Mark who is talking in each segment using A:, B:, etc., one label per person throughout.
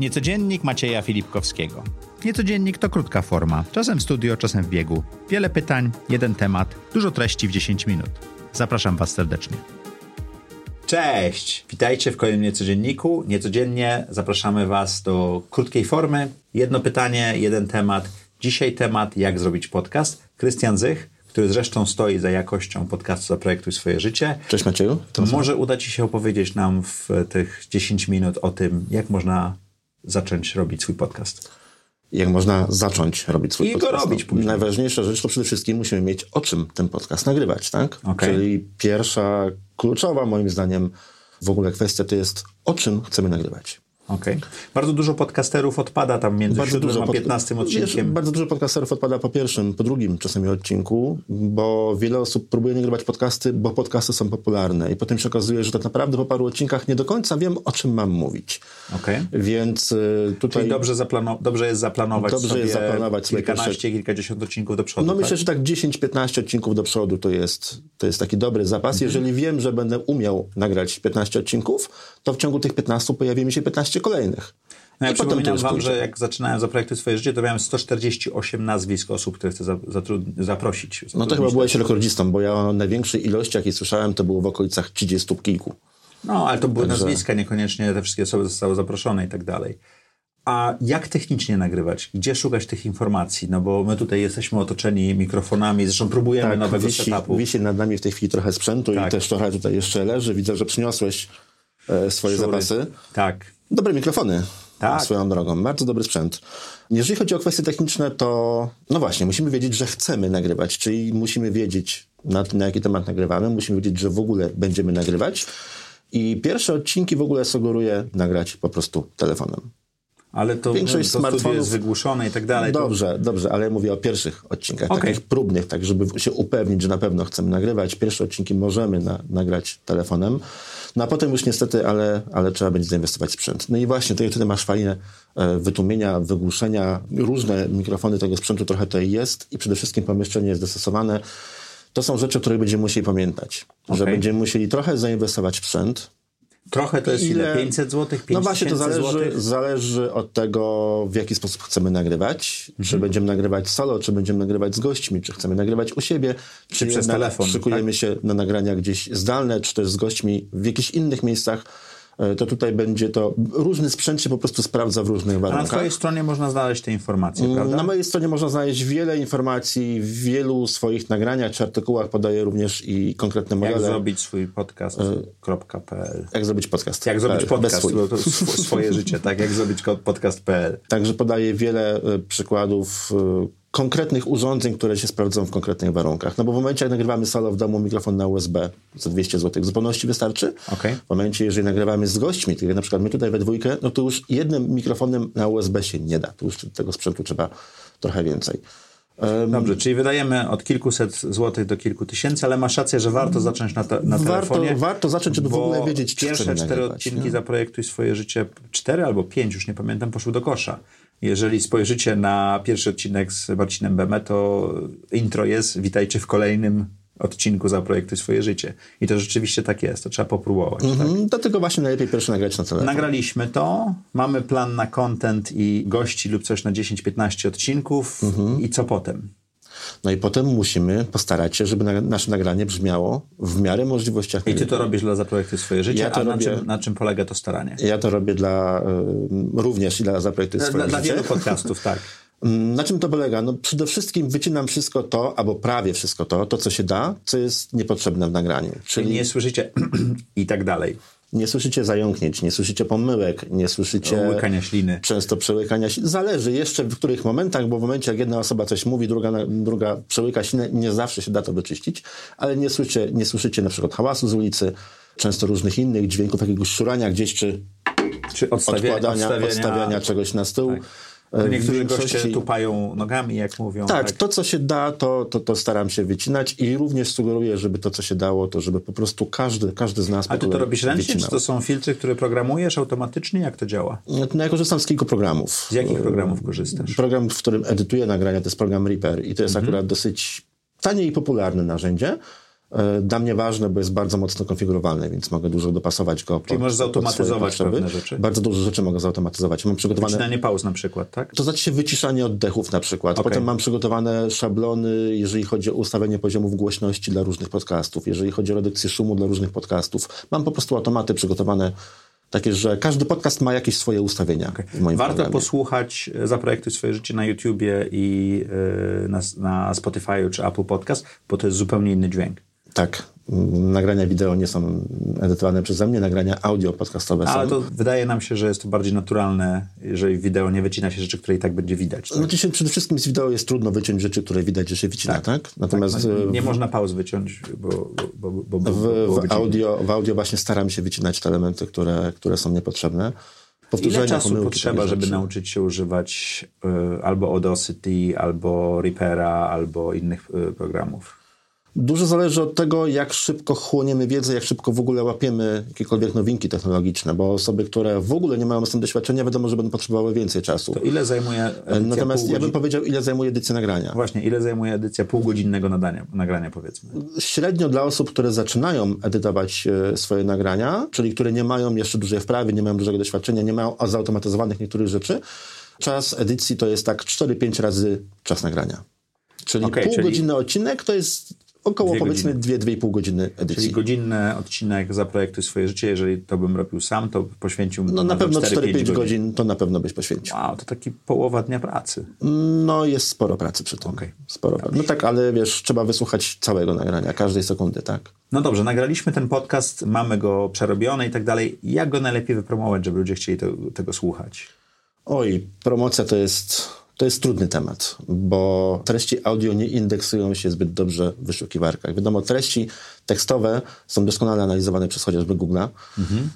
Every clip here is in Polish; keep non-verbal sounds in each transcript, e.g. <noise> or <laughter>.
A: Niecodziennik Macieja Filipkowskiego. Niecodziennik to krótka forma, czasem w studio, czasem w biegu. Wiele pytań, jeden temat, dużo treści w 10 minut. Zapraszam Was serdecznie. Cześć! Witajcie w kolejnym Niecodzienniku. Niecodziennie zapraszamy Was do krótkiej formy. Jedno pytanie, jeden temat. Dzisiaj temat, jak zrobić podcast. Krystian Zych, który zresztą stoi za jakością podcastu Zaprojektuj swoje życie.
B: Cześć Macieju. To
A: Może uda Ci się opowiedzieć nam w tych 10 minut o tym, jak można zacząć robić swój podcast.
B: Jak można zacząć robić swój
A: I go
B: podcast? No,
A: robić później.
B: Najważniejsza rzecz to przede wszystkim musimy mieć o czym ten podcast nagrywać, tak?
A: Okej.
B: Czyli pierwsza, kluczowa moim zdaniem w ogóle kwestia to jest o czym chcemy nagrywać.
A: Okej. Bardzo dużo podcasterów odpada tam między bardzo 7 a
B: pod-
A: 15
B: Wiesz,
A: odcinkiem.
B: bardzo dużo podcasterów odpada po pierwszym, po drugim czasami odcinku, bo wiele osób próbuje nagrywać podcasty, bo podcasty są popularne i potem się okazuje, że tak naprawdę po paru odcinkach nie do końca wiem o czym mam mówić.
A: Okej.
B: Więc y, tutaj...
A: Czyli dobrze, zaplano- dobrze jest zaplanować
B: Dobrze
A: sobie
B: jest zaplanować sobie
A: kilkanaście,
B: pierwsze-
A: kilkadziesiąt odcinków do przodu.
B: No
A: tak?
B: myślę, że tak 10-15 odcinków do przodu to jest, to jest taki dobry zapas.
A: Mhm.
B: Jeżeli wiem, że będę umiał nagrać 15 odcinków, to w ciągu tych 15 pojawi mi się 15 kolejnych.
A: No ja
B: I potem to
A: przypominam
B: już
A: wam,
B: pójdzie.
A: że jak zaczynałem zaprojektuj swoje życie, to miałem 148 nazwisk osób, które chcę za, zatrud- zaprosić.
B: No to
A: zatrudnić.
B: chyba byłeś rekordzistą, bo ja o największej ilości, jakiej słyszałem, to było w okolicach 30 kilku.
A: No, ale to były nazwiska, niekoniecznie te wszystkie osoby zostały zaproszone i tak dalej. A jak technicznie nagrywać? Gdzie szukać tych informacji? No bo my tutaj jesteśmy otoczeni mikrofonami, zresztą próbujemy
B: Tak,
A: nowego
B: wisi,
A: setupu.
B: wisi nad nami w tej chwili trochę sprzętu
A: Tak.
B: i też trochę tutaj jeszcze leży. Widzę, że przyniosłeś e, swoje
A: Szury.
B: zapasy.
A: Tak.
B: Dobre mikrofony.
A: Tak.
B: Swoją drogą. Bardzo dobry sprzęt. Jeżeli chodzi o kwestie techniczne, to no właśnie, musimy wiedzieć, że chcemy nagrywać, czyli musimy wiedzieć, na, na jaki temat nagrywamy, musimy wiedzieć, że w ogóle będziemy nagrywać. I pierwsze odcinki w ogóle sugeruję nagrać po prostu telefonem.
A: Ale to,
B: Większość
A: to studio
B: smartfonów- No,
A: jest wygłuszone i tak dalej. To-
B: Dobrze, dobrze, ale mówię o pierwszych odcinkach,
A: Okej.
B: takich próbnych, tak żeby się upewnić, że na pewno chcemy nagrywać. Pierwsze odcinki możemy na, nagrać telefonem, no a potem już niestety, ale, ale trzeba będzie zainwestować w sprzęt. No i właśnie, tutaj, tutaj masz fajne e, wytłumienia, wygłuszenia, różne mikrofony tego sprzętu trochę tutaj jest i przede wszystkim pomieszczenie jest dostosowane. To są rzeczy, o których będziemy musieli pamiętać, że
A: Okej.
B: będziemy musieli trochę zainwestować w sprzęt,
A: Trochę to jest ile? 500 zł? 5
B: no właśnie, to zależy,
A: Złotych?
B: zależy od tego, w jaki sposób chcemy nagrywać.
A: Mhm.
B: Czy będziemy nagrywać solo, czy będziemy nagrywać z gośćmi, czy chcemy nagrywać u siebie, czy,
A: przez
B: jednak
A: telefon, tak?
B: szykujemy się na nagrania gdzieś zdalne, czy też z gośćmi w jakichś innych miejscach. E, To tutaj będzie to. Różny sprzęt się po prostu sprawdza w różnych
A: A na
B: warunkach.
A: twojej stronie można znaleźć te informacje, prawda?
B: Na mojej stronie można znaleźć wiele informacji, w wielu swoich nagraniach czy artykułach podaję również i konkretne
A: Jak
B: modele.
A: zrobić swój podcast.pl
B: jak zrobić podcast. Tak,
A: Jak zrobić
B: E- Bez
A: podcast,
B: swój.
A: bo to sw- swoje życie, tak? Jak zrobić ko- podcast.pl
B: Także podaję wiele e, przykładów e, konkretnych urządzeń, które się sprawdzą w konkretnych warunkach. No bo w momencie, jak nagrywamy solo w domu, mikrofon na USB za 200 zł w zupełności wystarczy.
A: Okej.
B: W momencie, jeżeli nagrywamy z gośćmi, tak jak na przykład my tutaj we dwójkę, no to już jednym mikrofonem na USB się nie da. Tu już tego sprzętu trzeba trochę więcej. Em,
A: Dobrze, czyli wydajemy od kilkuset złotych do kilku tysięcy, ale masz rację, że warto zacząć na, te, na
B: Warto,
A: telefonie.
B: warto zacząć, żeby w
A: bo
B: ogóle wiedzieć, czy
A: Pierwsze
B: chcemy
A: cztery
B: nagrywać,
A: odcinki
B: nie?
A: Zaprojektuj swoje życie, cztery albo pięć, już nie pamiętam, poszły do kosza. Jeżeli spojrzycie na pierwszy odcinek z Marcinem Beme, to intro jest witajcie w kolejnym odcinku Zaprojektuj swoje życie. I to rzeczywiście tak jest, to trzeba popróbować.
B: Mhm, Dlatego właśnie najlepiej pierwsze nagrać na telefon.
A: Nagraliśmy to, mamy plan na content i gości lub coś na 10-15 odcinków
B: Mhm.
A: i co potem?
B: No i potem musimy postarać się, żeby na, nasze nagranie brzmiało w miarę możliwości. jak
A: I ty to robisz dla Zaprojektuj swoje życie,
B: Ja to
A: a na
B: robię-
A: czym, na czym polega to staranie?
B: Ja to robię dla y, również i dla zaprojektu
A: Dla,
B: swoje
A: dla
B: życie.
A: wielu podcastów, tak.
B: <laughs> Mm, Na czym to polega? No przede wszystkim wycinam wszystko to, albo prawie wszystko to, to co się da, co jest niepotrzebne w nagraniu. Czyli nie,
A: Nie słyszycie <clears throat> i tak dalej.
B: słyszycie zająknięć, nie słyszycie pomyłek, nie słyszycie
A: Łykania śliny.
B: często przełykania ślin. Zależy jeszcze w których momentach, bo w momencie jak jedna osoba coś mówi, druga, na- druga przełyka ślinę, nie zawsze się da to wyczyścić, ale nie słyszycie, nie słyszycie na przykład hałasu z ulicy, często różnych innych dźwięków, jakiegoś szurania gdzieś, czy
A: Czy odstawia,
B: odkładania,
A: odstawiania.
B: odstawiania, czegoś na stół. E,
A: To
B: w
A: niektórzy goście
B: większości-
A: tupają nogami, jak mówią.
B: Tak, to co się da, to, to, to staram się wycinać i również sugeruję, żeby to co się dało, to żeby po prostu każdy, każdy z nas
A: A ty to robisz ręcznie, czy
B: wycinał.
A: to są filtry, które programujesz automatycznie? Jak to działa?
B: No, to ja korzystam z kilku programów.
A: Z jakich programów korzystasz?
B: Program, w
A: Mhm.
B: którym edytuję nagrania, to jest program Reaper i to jest akurat dosyć tanie i popularne narzędzie. E, Dla mnie ważne, bo jest bardzo mocno konfigurowalny, więc mogę dużo dopasować go. Pod,
A: Czyli możesz
B: pod swoje
A: zautomatyzować
B: potrzeby.
A: pewne rzeczy.
B: Bardzo dużo rzeczy mogę zautomatyzować. Mam przygotowane
A: Wycinanie pauz na przykład, tak?
B: to znaczy się wyciszanie oddechów na przykład.
A: Okej.
B: Potem mam przygotowane szablony, jeżeli chodzi o ustawienie poziomów głośności dla różnych podcastów, jeżeli chodzi o redukcję szumu dla różnych podcastów. Mam po prostu automaty przygotowane takie, że każdy podcast ma jakieś swoje ustawienia w moim
A: Warto
B: programie.
A: posłuchać e, Zaprojektuj swoje życie na YouTubie i e, na, na Spotify czy Apple Podcast, bo to jest zupełnie inny dźwięk.
B: Tak. Mm, Nagrania wideo nie są edytowane przeze mnie, nagrania audio podcastowe
A: Ale
B: są.
A: to wydaje nam się, że jest to bardziej naturalne, jeżeli w wideo nie wycina się rzeczy, które i tak będzie widać. Tak?
B: Znaczy się przede wszystkim z wideo jest trudno wyciąć rzeczy, które widać, że się wycina, tak? Natomiast
A: No,
B: e,
A: nie można pauz wyciąć, bo, bo, bo, bo, bo
B: w,
A: byłoby
B: w,
A: dziwnie.
B: audio, w audio właśnie staram się wycinać te elementy, które, które są niepotrzebne.
A: Ile
B: Powtórzenia,
A: czasu
B: pomyłki,
A: potrzeba,
B: takie
A: żeby
B: rzeczy.
A: nauczyć się używać y, albo Audacity, albo Reapera, albo innych y, programów?
B: Dużo zależy od tego, jak szybko chłoniemy wiedzę, jak szybko w ogóle łapiemy jakiekolwiek nowinki technologiczne, bo osoby, które w ogóle nie mają z tym doświadczenia, wiadomo, że będą potrzebowały więcej czasu.
A: To ile zajmuje edycja
B: Natomiast
A: pół
B: ja bym
A: godzin...
B: powiedział, ile zajmuje edycja nagrania.
A: Właśnie, ile zajmuje edycja półgodzinnego nadania, nagrania, powiedzmy?
B: Średnio dla osób, które zaczynają edytować e, swoje nagrania, czyli które nie mają jeszcze dużej wprawy, nie mają dużego doświadczenia, nie mają zautomatyzowanych niektórych rzeczy, czas edycji to jest tak 4-5 razy czas nagrania. Czyli
A: Okej, czyli-
B: półgodzinny odcinek to jest około
A: Dwie
B: powiedzmy 2-2,5 godziny edycji.
A: Czyli godzinny odcinek zaprojektuj swoje życie. Jeżeli to bym robił sam, to poświęciłbym
B: No na
A: to
B: pewno 4-5 godzin.
A: godzin.
B: to na pewno byś poświęcił.
A: Wow, to taki połowa dnia pracy.
B: No jest sporo pracy przy tym.
A: Okej.
B: Sporo pracy. No tak, ale wiesz, trzeba wysłuchać całego nagrania, każdej sekundy, tak.
A: No dobrze, nagraliśmy ten podcast, mamy go przerobiony i tak dalej. Jak go najlepiej wypromować, żeby ludzie chcieli to, tego słuchać?
B: Oj, promocja to jest, to jest trudny temat, bo treści audio nie indeksują się zbyt dobrze w wyszukiwarkach. Wiadomo, treści tekstowe są doskonale analizowane przez chociażby Google'a.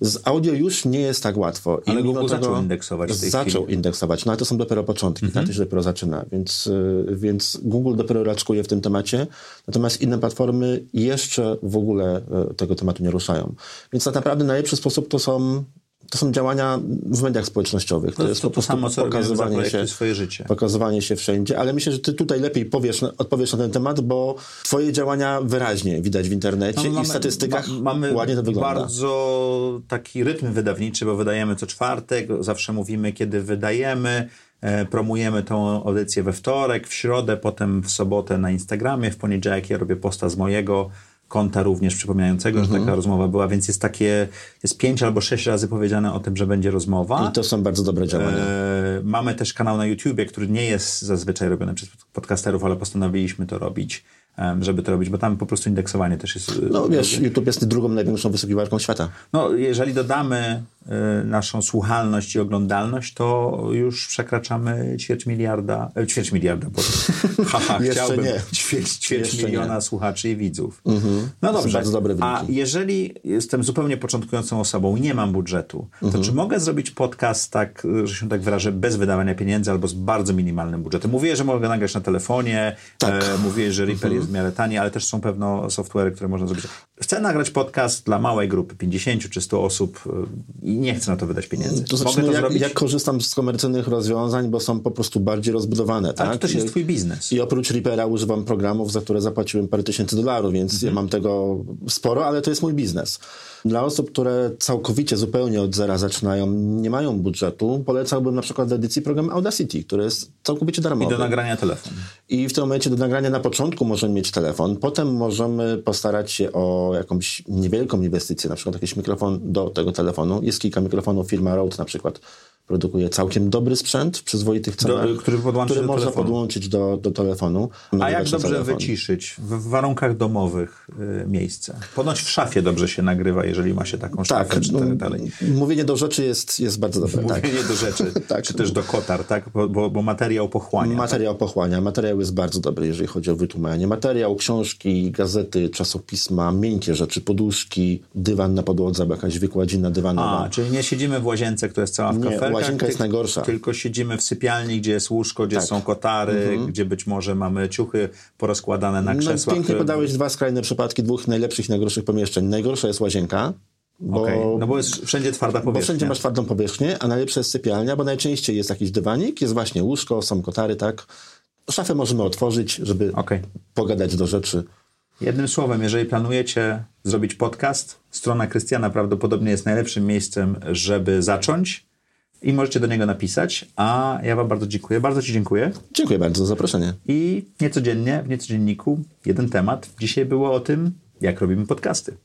B: Z audio już nie jest tak łatwo. I
A: Mhm. Ale
B: mimo
A: Google zaczął indeksować w tej
B: Zaczął
A: chwili. Mhm.
B: indeksować, no ale to są dopiero początki, na to się dopiero zaczyna, więc, y, więc Google dopiero raczkuje w tym temacie, natomiast inne platformy jeszcze w ogóle y, tego tematu nie ruszają. Więc tak naprawdę najlepszy sposób to są, to są działania w mediach społecznościowych. To,
A: To,
B: jest
A: to,
B: No, po
A: to
B: prostu
A: samo, co robiłem
B: pokazywanie się,
A: zaprojektuj swoje życie.
B: pokazywanie się wszędzie, ale myślę, że ty tutaj lepiej powiesz, na- odpowiesz na ten temat, bo twoje działania wyraźnie widać w internecie i w statystykach
A: No, ma- mamy
B: ładnie to wygląda.
A: bardzo taki rytm wydawniczy, bo wydajemy co czwartek, zawsze mówimy, kiedy wydajemy, e, promujemy tą audycję we wtorek, w środę, potem w sobotę na Instagramie, w poniedziałek ja robię posta z mojego konta również przypominającego, że
B: Mhm.
A: taka rozmowa była, więc jest takie, jest pięć albo sześć razy powiedziane o tym, że będzie rozmowa.
B: I to są bardzo dobre działania.
A: E, Mamy też kanał na YouTubie, który nie jest zazwyczaj robiony przez podcasterów, ale postanowiliśmy to robić, em, żeby to robić, bo tam po prostu indeksowanie też jest. e,
B: No wiesz, YouTube jest drugą największą wyszukiwarką świata.
A: No, jeżeli dodamy e, naszą słuchalność i oglądalność, to już przekraczamy ćwierć miliarda, e, ćwierć miliarda,
B: <laughs>
A: bo haha,
B: Jeszcze
A: chciałbym
B: nie.
A: ćwierć, ćwierć
B: Jeszcze Mhm.
A: miliona słuchaczy i widzów. No dobrze,
B: bardzo dobre wyniki.
A: a jeżeli jestem zupełnie początkującą osobą i nie mam budżetu, to
B: Mhm.
A: czy mogę zrobić podcast tak, e, że się tak wyrażę, bez wydawania pieniędzy albo z bardzo minimalnym budżetem? Mówię, że mogę nagrać na telefonie,
B: Tak.
A: e, mówię, że
B: Mhm.
A: Reaper jest w miarę tani, ale też są pewno software'y, które można zrobić. Chcę nagrać podcast dla małej grupy, 50 czy 100 osób e, i nie chcę na to wydać pieniędzy.
B: To znaczy,
A: mogę to
B: no, jak,
A: zrobić?
B: ja korzystam z komercyjnych rozwiązań, bo są po prostu bardziej rozbudowane.
A: Ale
B: tak?
A: to też
B: I-
A: jest twój biznes.
B: I oprócz Reapera używam programów, za które zapłaciłem parę tysięcy dolarów, więc ja mam tego sporo, ale to jest mój biznes. Dla osób, które całkowicie, zupełnie od zera zaczynają, nie mają budżetu, polecałbym na przykład do edycji program Audacity, który jest całkowicie
A: I
B: darmowy.
A: do nagrania telefon.
B: I w tym momencie do nagrania na początku możemy mieć telefon, potem możemy postarać się o jakąś niewielką inwestycję, na przykład jakiś mikrofon do tego telefonu. Jest kilka mikrofonów, firma Rode na przykład produkuje całkiem dobry sprzęt w przyzwoitych cenach,
A: który podłączy do
B: można
A: telefonu.
B: podłączyć do, do telefonu.
A: A jak
B: nagrywać na
A: dobrze
B: telefon.
A: wyciszyć w w warunkach domowych y, miejsce? Ponoć w szafie dobrze się nagrywa, jeżeli ma się taką szafę,
B: Tak,
A: czy
B: no,
A: tak dalej.
B: mówienie do rzeczy jest, jest bardzo dobre. Tak.
A: Mówienie do rzeczy,
B: <laughs> Tak.
A: czy też do kotar, tak? Bo, bo, bo materiał pochłania.
B: Materiał pochłania. Materiał jest bardzo dobry, jeżeli chodzi o wytłumaczenie. Materiał, książki, gazety, czasopisma, miękkie rzeczy, poduszki, dywan na podłodze, albo jakaś wykładzina dywanowa.
A: A, czyli nie siedzimy w łazience, która jest cała w
B: Nie,
A: kafelkach.
B: łazienka jest
A: tyl-
B: najgorsza. Tak.
A: Tylko siedzimy w sypialni, gdzie jest łóżko, gdzie są kotary, gdzie być może mamy ciuchy porozkładane na
B: Mhm. No,
A: krzesłach.
B: pięknie
A: które-
B: podałeś dwa skrajne przypadki dwóch najlepszych i najgorszych pomieszczeń. Najgorsza jest łazienka, bo,
A: Okej, No bo jest wszędzie twarda
B: bo
A: powierzchnia.
B: wszędzie masz twardą powierzchnię, a najlepsza jest sypialnia, bo najczęściej jest jakiś dywanik, jest właśnie łóżko, są kotary, tak. Szafę możemy otworzyć, żeby
A: Okej.
B: pogadać do rzeczy.
A: Jednym słowem, jeżeli planujecie zrobić podcast, strona Krystiana prawdopodobnie jest najlepszym miejscem, żeby zacząć i możecie do niego napisać. A ja Wam bardzo dziękuję. Bardzo Ci dziękuję.
B: Dziękuję bardzo za zaproszenie.
A: I niecodziennie, w niecodzienniku, jeden temat. Dzisiaj było o tym, jak robimy podcasty.